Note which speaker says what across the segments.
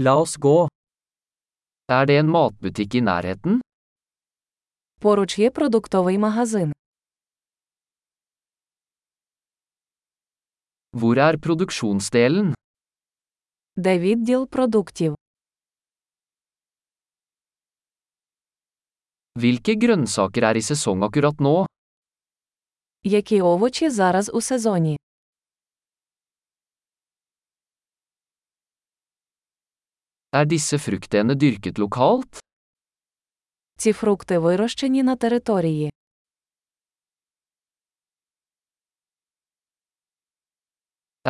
Speaker 1: La oss gå. Er det en matbutikk i nærheten?
Speaker 2: Поруч є продуктовий магазин.
Speaker 1: Hvor er produksjonsdelen?
Speaker 2: Де відділ продуктів?
Speaker 1: Hvilke grønnsaker er i sesong akkurat nå?
Speaker 2: Які овочі зараз у сезоні?
Speaker 1: Er disse fruktene dyrket lokalt?
Speaker 2: Ці фрукти вирощені на території.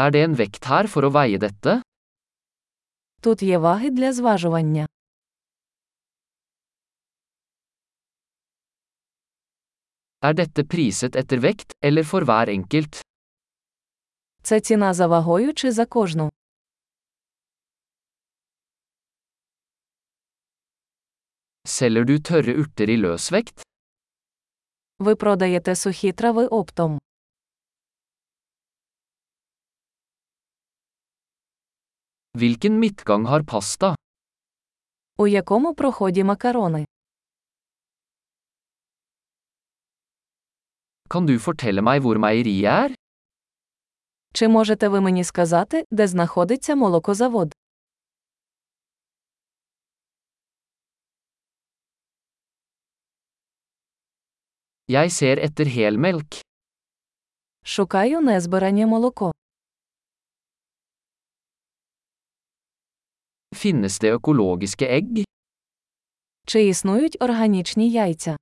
Speaker 1: Er det en vekt her for å veie dette?
Speaker 2: Тут є ваги для зважування.
Speaker 1: Er dette priset etter vekt, eller for hver enkelt?
Speaker 2: Це ціна за вагою чи за кожну.
Speaker 1: Selger du tørre urter i løsvekt?
Speaker 2: Ви продаєте сухі трави оптом.
Speaker 1: Hvilken midtgang har pasta?
Speaker 2: У якому проході макарони?
Speaker 1: Kan du fortelle meg hvor meieriet er?
Speaker 2: Чи можете ви мені сказати, де знаходиться молокозавод?
Speaker 1: Jeg ser etter helmelk.
Speaker 2: Шукаю незбирання молоко.
Speaker 1: Finnes det økologiske egg?
Speaker 2: Чи існують органічні яйця?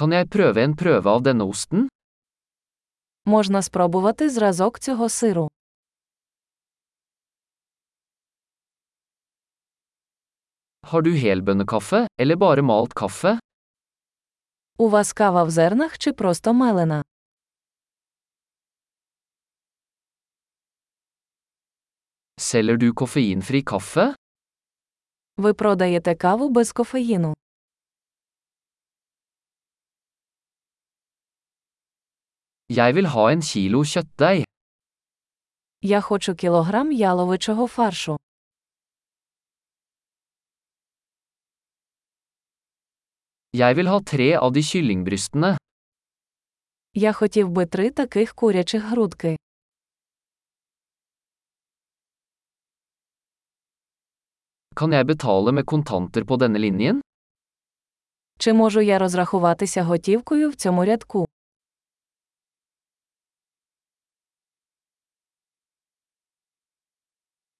Speaker 1: Kan jeg prøve en prøve av denne osten?
Speaker 2: Можна спробувати зразок цього сиру.
Speaker 1: Har du helbønnekaffe, eller bare malt kaffe?
Speaker 2: У вас кава в зернах чи просто мелена?
Speaker 1: Selger du koffeinfri kaffe?
Speaker 2: Ви продаєте каву без кофеїну.
Speaker 1: Jeg vil ha en kilo kjøttdeig.
Speaker 2: Я хочу кілограм яловичого фаршу.
Speaker 1: Jeg vil ha tre av de kyllingbrystene.
Speaker 2: Я хотів би три таких курячих грудки.
Speaker 1: Kan jeg betale med kontanter på denne linjen?
Speaker 2: Чи можу я розрахуватися готівкою в цьому рядку?